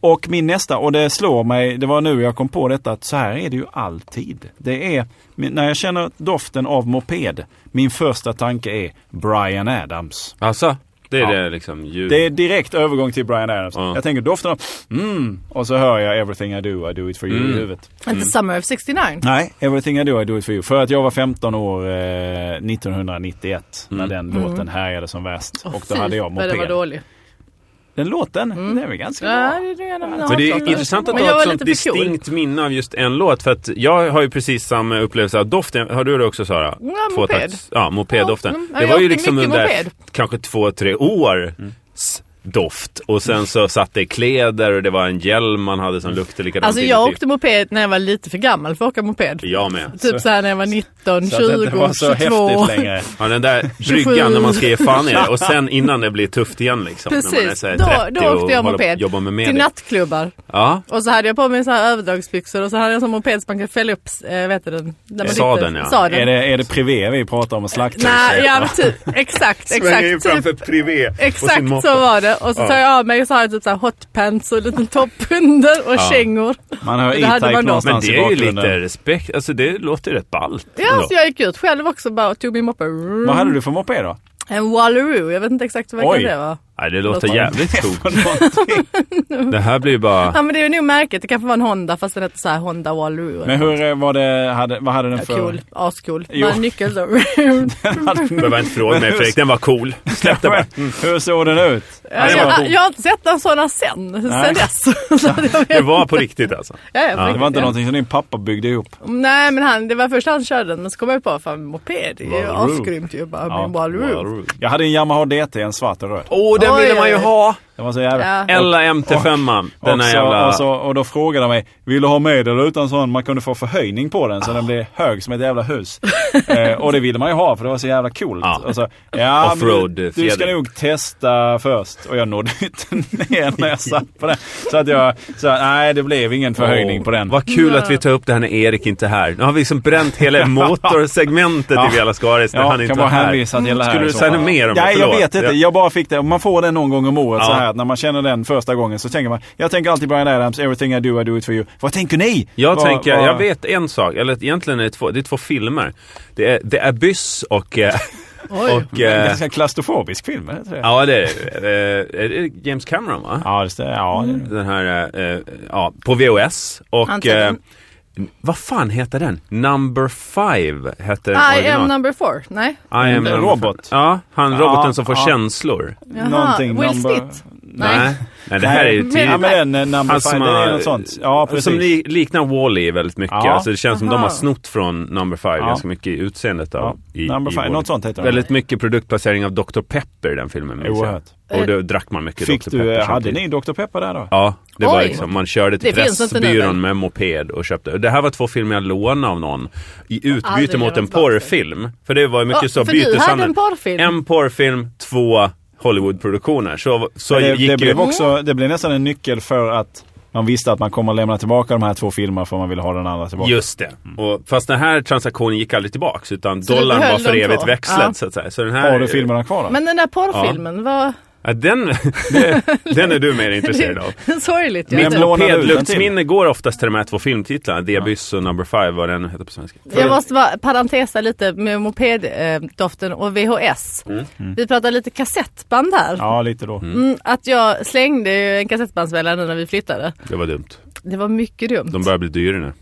Speaker 1: och min nästa, och det slår mig, det var nu jag kom på detta, att så här är det ju alltid. Det är, min- när jag känner doften av moped, min första tanke är Brian Adams.
Speaker 2: Alltså, Det är
Speaker 1: Ja.
Speaker 2: det liksom ljud.
Speaker 1: Det är direkt övergång till Brian Adams.
Speaker 2: Ja.
Speaker 1: Jag tänker doften av mm, och så hör jag Everything I Do, I Do It For You i
Speaker 2: Mm.
Speaker 1: huvudet.
Speaker 3: Inte Summer of 69.
Speaker 1: Nej, Everything I Do, I Do It For You. För att jag var 15 år eh, 1991 när
Speaker 2: Mm.
Speaker 1: den låten härjade som värst.
Speaker 3: Åh,
Speaker 1: och då
Speaker 3: fy,
Speaker 1: hade jag
Speaker 3: vad Den var Mm.
Speaker 1: moped.
Speaker 3: dålig.
Speaker 1: Den låten, den är ganska
Speaker 3: Ja,
Speaker 1: bra.
Speaker 3: det är det jag
Speaker 2: Men det är intressant att
Speaker 3: Men
Speaker 2: du
Speaker 3: jag
Speaker 2: har ett
Speaker 3: var
Speaker 2: sånt
Speaker 3: lite för cool.
Speaker 2: distinkt minne av just en låt. För att jag har ju precis samma upplevelse av doften. Har du det också Sara?
Speaker 3: Ja,
Speaker 2: Tvåtakt-
Speaker 3: moped.
Speaker 2: Ja, mopeddoften.
Speaker 3: Ja, mm.
Speaker 2: det
Speaker 3: Jag
Speaker 2: var ju
Speaker 3: åkte
Speaker 2: liksom
Speaker 3: mycket
Speaker 2: under
Speaker 3: moped.
Speaker 2: kanske två, tre år s- doft. Och sen så satt det i kläder och det var en hjälm man hade som luktade likadant.
Speaker 3: Alltså jag
Speaker 2: inuti.
Speaker 3: åkte moped när jag var lite för gammal för att åka moped.
Speaker 2: Jag med.
Speaker 3: Typ så här när jag var 19,
Speaker 1: Så att det inte
Speaker 3: 20,
Speaker 1: var så
Speaker 3: 22.
Speaker 1: häftigt
Speaker 3: <laughs>
Speaker 1: längre.
Speaker 2: Ja, den där
Speaker 3: 27.
Speaker 2: bryggan när man ska ge fan i det och
Speaker 3: <laughs>
Speaker 2: sen innan det blir tufft igen liksom. när man är
Speaker 3: Precis,
Speaker 2: så här
Speaker 3: då,
Speaker 2: 30
Speaker 3: då
Speaker 2: och
Speaker 3: åkte
Speaker 2: håller på-
Speaker 3: jag moped
Speaker 2: Jobbar med
Speaker 3: till
Speaker 2: media.
Speaker 3: nattklubbar.
Speaker 2: Ja,
Speaker 3: Och så hade jag på mig så här överdragsbyxor och så hade jag som moped som man kan fälla upp, eh, vet du den? Där man
Speaker 2: Sadeln,
Speaker 3: sitter-
Speaker 2: ja.
Speaker 3: Sadeln.
Speaker 1: Är det, är det privé vi pratar om och slakthus?
Speaker 3: Nej, ja, men typ, exakt,
Speaker 2: Svänger in
Speaker 3: exakt. Typ,
Speaker 2: framför privé och sin
Speaker 3: exakt
Speaker 2: moppe.
Speaker 3: så var det. Och så tar jag av mig och så har jag typ så här hotpants och en liten topp under och
Speaker 2: Ja.
Speaker 3: kängor.
Speaker 1: Man hör
Speaker 3: Det hade
Speaker 1: E-Type
Speaker 3: man då.
Speaker 2: Men
Speaker 1: någonstans
Speaker 2: det
Speaker 1: i
Speaker 2: är ju
Speaker 1: bakgrunden.
Speaker 2: lite respekt, alltså det låter ju rätt ballt.
Speaker 3: Ja, alltså,
Speaker 2: ändå.
Speaker 3: så jag gick ut själv också bara och tog min moppe.
Speaker 1: Vad hade du för moppe då?
Speaker 3: En Wallaroo, jag vet inte exakt vad
Speaker 1: Oj.
Speaker 3: det var.
Speaker 2: Nej, det låter
Speaker 3: Låter-
Speaker 2: jävligt coolt.
Speaker 3: Mm.
Speaker 2: Det här blir ju bara...
Speaker 3: <laughs> Ja men det är ju nog märket, det kanske var en Honda fast den hette så här Honda
Speaker 1: <laughs>
Speaker 3: Wallaroo.
Speaker 1: Men hur eh, var det, hade, vad hade den
Speaker 3: Ja,
Speaker 1: för...
Speaker 3: cool, ascool.
Speaker 1: Jo.
Speaker 3: Bara en <laughs> nyckel så.
Speaker 2: Behöver inte fråga mig Fredrik, den var cool. Släpp
Speaker 3: <laughs>
Speaker 2: det bara.
Speaker 1: Men Hur såg den ut?
Speaker 3: Ja,
Speaker 2: det var
Speaker 3: jag,
Speaker 2: cool.
Speaker 3: jag har inte sett en sån här sen,
Speaker 1: Nej.
Speaker 3: sen dess. <laughs> Så jag vet-
Speaker 2: Det var på riktigt alltså.
Speaker 3: Ja, ja, på
Speaker 1: Det var
Speaker 3: riktigt,
Speaker 1: inte
Speaker 3: ja.
Speaker 1: någonting som din pappa byggde ihop.
Speaker 3: Nej men han, det var först han körde den men så kom jag på, fan moped det är ju
Speaker 1: Wallaroo.
Speaker 3: asgrymt ju. Bara,
Speaker 1: Ja,
Speaker 3: min Wallaroo.
Speaker 2: Wallaroo.
Speaker 1: Jag hade en Yamaha DT, en svart och röd.
Speaker 2: Åh, den
Speaker 3: Oj,
Speaker 2: ville man ju
Speaker 3: oj, oj.
Speaker 2: ha!
Speaker 1: Den var så jävla...
Speaker 3: Ja.
Speaker 2: Ella MT5, den
Speaker 1: och,
Speaker 2: här
Speaker 1: så, och,
Speaker 2: jävla...
Speaker 1: så, och då frågade han mig, vill du ha med eller utan sån? Man kunde få förhöjning på den så den blev hög som ett jävla hus.
Speaker 3: <laughs>
Speaker 1: eh, och det ville man ju ha för det var så jävla coolt.
Speaker 2: Ja.
Speaker 1: Och så, ja, men
Speaker 2: Offroad
Speaker 1: du, du ska
Speaker 2: fjäder.
Speaker 1: nog testa först. Och jag nådde inte <laughs> ner när jag satt på den. Så att jag sa, nej det blev ingen förhöjning
Speaker 2: Åh,
Speaker 1: på den.
Speaker 2: Vad kul att vi tar upp det här när Erik inte är här. Nu har vi liksom
Speaker 1: <laughs>
Speaker 2: bränt hela motorsegmentet
Speaker 1: Ja.
Speaker 2: i Vela Skaris när
Speaker 1: Ja,
Speaker 2: han inte
Speaker 1: kan
Speaker 2: var
Speaker 1: bara
Speaker 2: här. Mm.
Speaker 1: hänvisa till det här
Speaker 2: Skulle
Speaker 1: i
Speaker 2: du
Speaker 1: så
Speaker 2: säga
Speaker 1: fall.
Speaker 2: något mer om det?
Speaker 1: Nej, jag
Speaker 2: Förlåt.
Speaker 1: vet inte.
Speaker 2: Ja.
Speaker 1: Jag bara fick det. Man får det någon gång om året så
Speaker 2: Ja.
Speaker 1: här. att När man känner den första gången så tänker man, jag tänker alltid Brian Adams, Everything I Do I Do It For You. Vad tänker ni?
Speaker 2: Jag
Speaker 1: Vad-
Speaker 2: tänker,
Speaker 1: vad-
Speaker 2: jag vet en sak, eller egentligen är det två, det är två filmer. Det är The Abyss
Speaker 1: <laughs>
Speaker 2: och... eh,
Speaker 3: Oj.
Speaker 2: och
Speaker 1: Det är en
Speaker 2: eh,
Speaker 1: ganska klaustrofobisk film, är det inte det?
Speaker 2: ja, det är, eh, är det James Cameron va?
Speaker 1: Ja, just det. Ja, det är det.
Speaker 2: Den här, eh, eh, ja, på VHS. Och eh,
Speaker 3: Antagligen.
Speaker 2: vad fan heter den? Number Five hette den
Speaker 3: I
Speaker 2: original.
Speaker 3: am number four, nej.
Speaker 2: I am
Speaker 1: En
Speaker 2: number
Speaker 1: robot.
Speaker 2: five. Ja, han
Speaker 1: Ja,
Speaker 2: roboten som får
Speaker 1: ja.
Speaker 2: känslor.
Speaker 3: Jaha,
Speaker 1: Någonting.
Speaker 3: Will
Speaker 1: number-
Speaker 3: Smith?
Speaker 2: Nej.
Speaker 3: Nej.
Speaker 2: Nej. det här är ju
Speaker 3: Men-
Speaker 2: tidigt.
Speaker 1: Ja, men den eh, number
Speaker 2: Han
Speaker 1: five,
Speaker 2: som
Speaker 1: det är
Speaker 2: har,
Speaker 1: något sånt. Ja, precis.
Speaker 2: som li, liknar Wall-E väldigt mycket.
Speaker 1: Ja.
Speaker 2: Alltså, det känns som de har
Speaker 3: Aha.
Speaker 2: snott från Number Five
Speaker 1: Ja.
Speaker 2: ganska mycket i utseendet. Av,
Speaker 1: Ja,
Speaker 2: i,
Speaker 1: Number
Speaker 2: i
Speaker 1: Five,
Speaker 2: Wall-E.
Speaker 1: något sånt heter den.
Speaker 2: Väldigt mycket produktplacering av Dr. Pepper i den filmen. minns jag.
Speaker 1: Oerhört.
Speaker 2: Och då drack man mycket
Speaker 1: Fick
Speaker 2: Dr.
Speaker 1: du,
Speaker 2: Pepper.
Speaker 1: eh, hade
Speaker 2: samtidigt.
Speaker 1: ni Dr. Pepper där då?
Speaker 2: Ja, det var
Speaker 3: Oj.
Speaker 2: liksom, man körde till
Speaker 3: Det finns inte nu,
Speaker 2: Pressbyrån
Speaker 3: väl?
Speaker 2: med moped och köpte. Det här var två filmer jag lånade av någon i utbyte
Speaker 3: Aldrig
Speaker 2: mot en
Speaker 3: levat vapen.
Speaker 2: porrfilm. För det var ju mycket
Speaker 3: Ja,
Speaker 2: så
Speaker 3: för du hade en
Speaker 2: byteshandel.
Speaker 3: porrfilm.
Speaker 2: En porrfilm, två Hollywoodproduktioner. Så, så
Speaker 1: det,
Speaker 2: gick
Speaker 1: det,
Speaker 2: ju...
Speaker 1: blev också, det blev nästan en nyckel för att man visste att man kommer att lämna tillbaka de här två filmerna för man ville ha den andra tillbaka.
Speaker 2: Just det.
Speaker 1: Mm.
Speaker 2: Och, fast den här transaktionen gick aldrig tillbaks utan
Speaker 3: Så du
Speaker 2: dollarn var
Speaker 3: behöll
Speaker 2: för
Speaker 3: de
Speaker 2: evigt
Speaker 3: två?
Speaker 2: växlad
Speaker 3: Ja.
Speaker 2: så att säga. Så den här...
Speaker 1: Har du filmerna kvar då?
Speaker 3: Men den där porrfilmen, var
Speaker 2: Ja, den, <laughs> det, den är du mer
Speaker 1: <laughs>
Speaker 2: intresserad av.
Speaker 3: <laughs> sorgligt.
Speaker 1: Min
Speaker 3: Jag,
Speaker 1: blå-
Speaker 3: inte.
Speaker 1: lånade ut den till.
Speaker 2: Pedluktsminne går oftast till de här två filmtitlarna. The Abyss och Number Five, vad den heter på svenska.
Speaker 3: jag måste bara parentesa lite med mopeddoften och VHS. Vi pratade lite kassettband här.
Speaker 1: Mm. Ja, lite då.
Speaker 3: Mm, att jag slängde ju en kassettbandsspelare nu när vi flyttade.
Speaker 2: Det var dumt.
Speaker 3: Det var mycket dumt.
Speaker 2: De börjar bli dyra nu.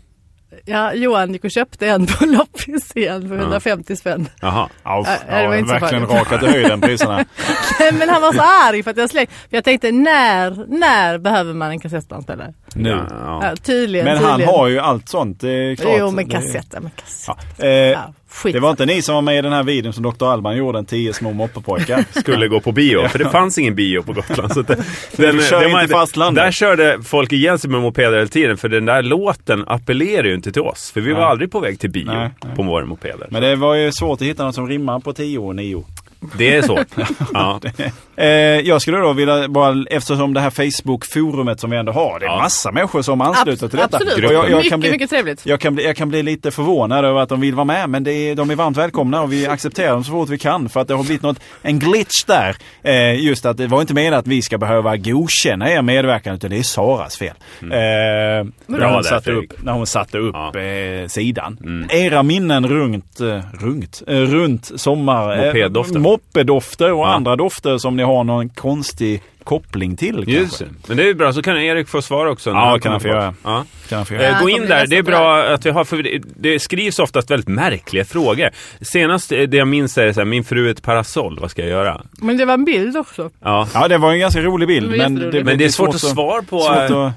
Speaker 3: Ja, Johan gick och köpte en på <laughs> loppis igen för 150 spänn.
Speaker 2: Jaha.
Speaker 1: Ja,
Speaker 3: Ja, Äh, det
Speaker 1: ja,
Speaker 3: var inte så
Speaker 1: verkligen
Speaker 3: farligt.
Speaker 1: rakat i höjden priserna.
Speaker 3: Nej, Men han var så arg för att jag slängde. För jag tänkte när, när behöver man en kassettbandspelare?
Speaker 1: nu.
Speaker 2: Ja, ja.
Speaker 3: Ja, tydligen,
Speaker 1: Men han
Speaker 3: tydligen.
Speaker 1: har ju allt sånt, det är klart.
Speaker 3: Jo men
Speaker 1: Det-
Speaker 3: kassett, ja, men kassett. Ja.
Speaker 1: Ja. Eh,
Speaker 3: skit.
Speaker 1: det var inte ni som var med i den här videon som Dr. Alban gjorde, en tio små
Speaker 3: <laughs>
Speaker 1: moppepojkar.
Speaker 2: Skulle gå
Speaker 1: <laughs>
Speaker 2: på bio, för det fanns ingen bio på Gotland. Så att den,
Speaker 1: kör
Speaker 2: den
Speaker 1: in till fastlandet.
Speaker 2: Där körde folk igen sig med mopeder hela tiden, för den där låten appellerar ju inte till oss. För vi var
Speaker 1: Nej.
Speaker 2: aldrig på väg till bio
Speaker 1: Nej,
Speaker 2: på våra mopeder.
Speaker 1: Men det var ju svårt att hitta något som rimmar på 10 och 9. <laughs>
Speaker 2: Det är så. ja.
Speaker 1: Eh, jag skulle då vilja, bara, eftersom det här Facebook-forumet som vi ändå har, det är
Speaker 2: Ja.
Speaker 1: massa människor som ansluter till detta.
Speaker 3: Absolut,
Speaker 1: Och jag, jag,
Speaker 3: mycket,
Speaker 1: kan bli,
Speaker 3: mycket trevligt.
Speaker 1: jag, kan bli, jag kan bli lite förvånad över att de vill vara med, men det är, de är varmt välkomna och vi accepterar dem så fort vi kan för att det har blivit något, en glitch där. Eh, just att det var inte meningen att vi ska behöva godkänna er medverkan utan det är Saras fel.
Speaker 2: Mm.
Speaker 1: Eh,
Speaker 2: Bra
Speaker 1: när, hon
Speaker 2: där,
Speaker 1: satte upp,
Speaker 2: Fredrik.
Speaker 1: när hon satte upp
Speaker 2: Ja. Mm.
Speaker 1: eh, sidan. Era minnen runt, eh, runt, eh, runt sommar... eh,
Speaker 2: Mopeddoften.
Speaker 1: moppedofter och andra dofter som ni har någon konstig koppling till. Kanske.
Speaker 2: Just det. Men det är ju bra, så kan Erik få svar också. när
Speaker 1: Ja,
Speaker 2: han
Speaker 1: kan han
Speaker 2: kommer
Speaker 1: få
Speaker 2: tillbaka. Ja.
Speaker 1: Kan jag få göra?
Speaker 2: Eh, Gå
Speaker 3: de
Speaker 2: in
Speaker 3: blir
Speaker 2: där,
Speaker 3: nästan
Speaker 2: det är bra att vi har, för det- det skrivs oftast väldigt märkliga frågor. Senast eh, det jag minns är så här, min fru är ett parasoll, vad ska jag göra?
Speaker 3: Men det var en bild också.
Speaker 2: Ja.
Speaker 1: Ja, det var en ganska rolig bild.
Speaker 3: Det var
Speaker 1: Men
Speaker 3: jätteroligt.
Speaker 1: det,
Speaker 2: Men det är svårt att svara på.
Speaker 1: svårt att-
Speaker 2: eh,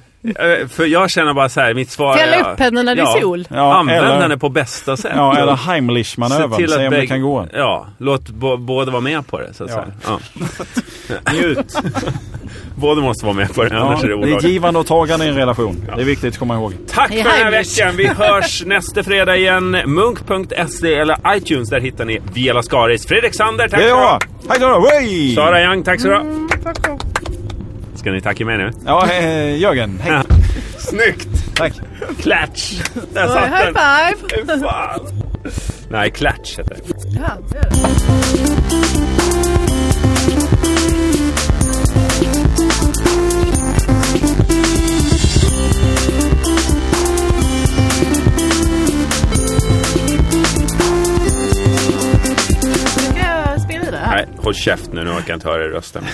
Speaker 2: För jag känner bara så här, mitt svar
Speaker 3: Fälla
Speaker 2: är-
Speaker 3: upp henne när det är
Speaker 2: Ja.
Speaker 3: sol.
Speaker 1: Ja,
Speaker 2: Använd
Speaker 1: eller-
Speaker 2: henne på bästa sätt.
Speaker 1: Ja, eller
Speaker 2: Se
Speaker 1: Heimlich-manövern.
Speaker 2: till att
Speaker 1: Se om
Speaker 2: bägge-
Speaker 1: det kan gå.
Speaker 2: Ja, låt bo- båda vara med på det. Så att
Speaker 1: Ja.
Speaker 2: säga. Ja.
Speaker 1: <laughs>
Speaker 2: Njut. båda måste vara med på det,
Speaker 1: Ja,
Speaker 2: annars är det
Speaker 1: det är
Speaker 2: olagligt.
Speaker 1: givande och tagande i en relation. Det är viktigt att komma ihåg.
Speaker 2: Tack för
Speaker 3: Hej,
Speaker 2: den här
Speaker 3: Heimlich.
Speaker 2: veckan. Vi hörs
Speaker 3: <laughs>
Speaker 2: nästa fredag igen. Munk.se eller iTunes. Där hittar ni Viola Skaris. Fredrik Sander, tack
Speaker 1: Ja,
Speaker 2: du
Speaker 1: hej då! Hej!
Speaker 2: Sara Young, Mm, tack så du ha. Ska ni tacka mig nu?
Speaker 1: Ja, eh, Jörgen. Hej.
Speaker 2: <laughs> Snyggt!
Speaker 1: Tack.
Speaker 2: Klatsch! Där
Speaker 3: Oj,
Speaker 2: satt
Speaker 3: high
Speaker 2: den.
Speaker 3: five!
Speaker 2: Fy Fan. Nej, klatsch heter det.
Speaker 3: Ja, det är det. Ska jag spela i det här?
Speaker 2: Nej, håll käft nu. Nu orkar jag inte höra er rösten.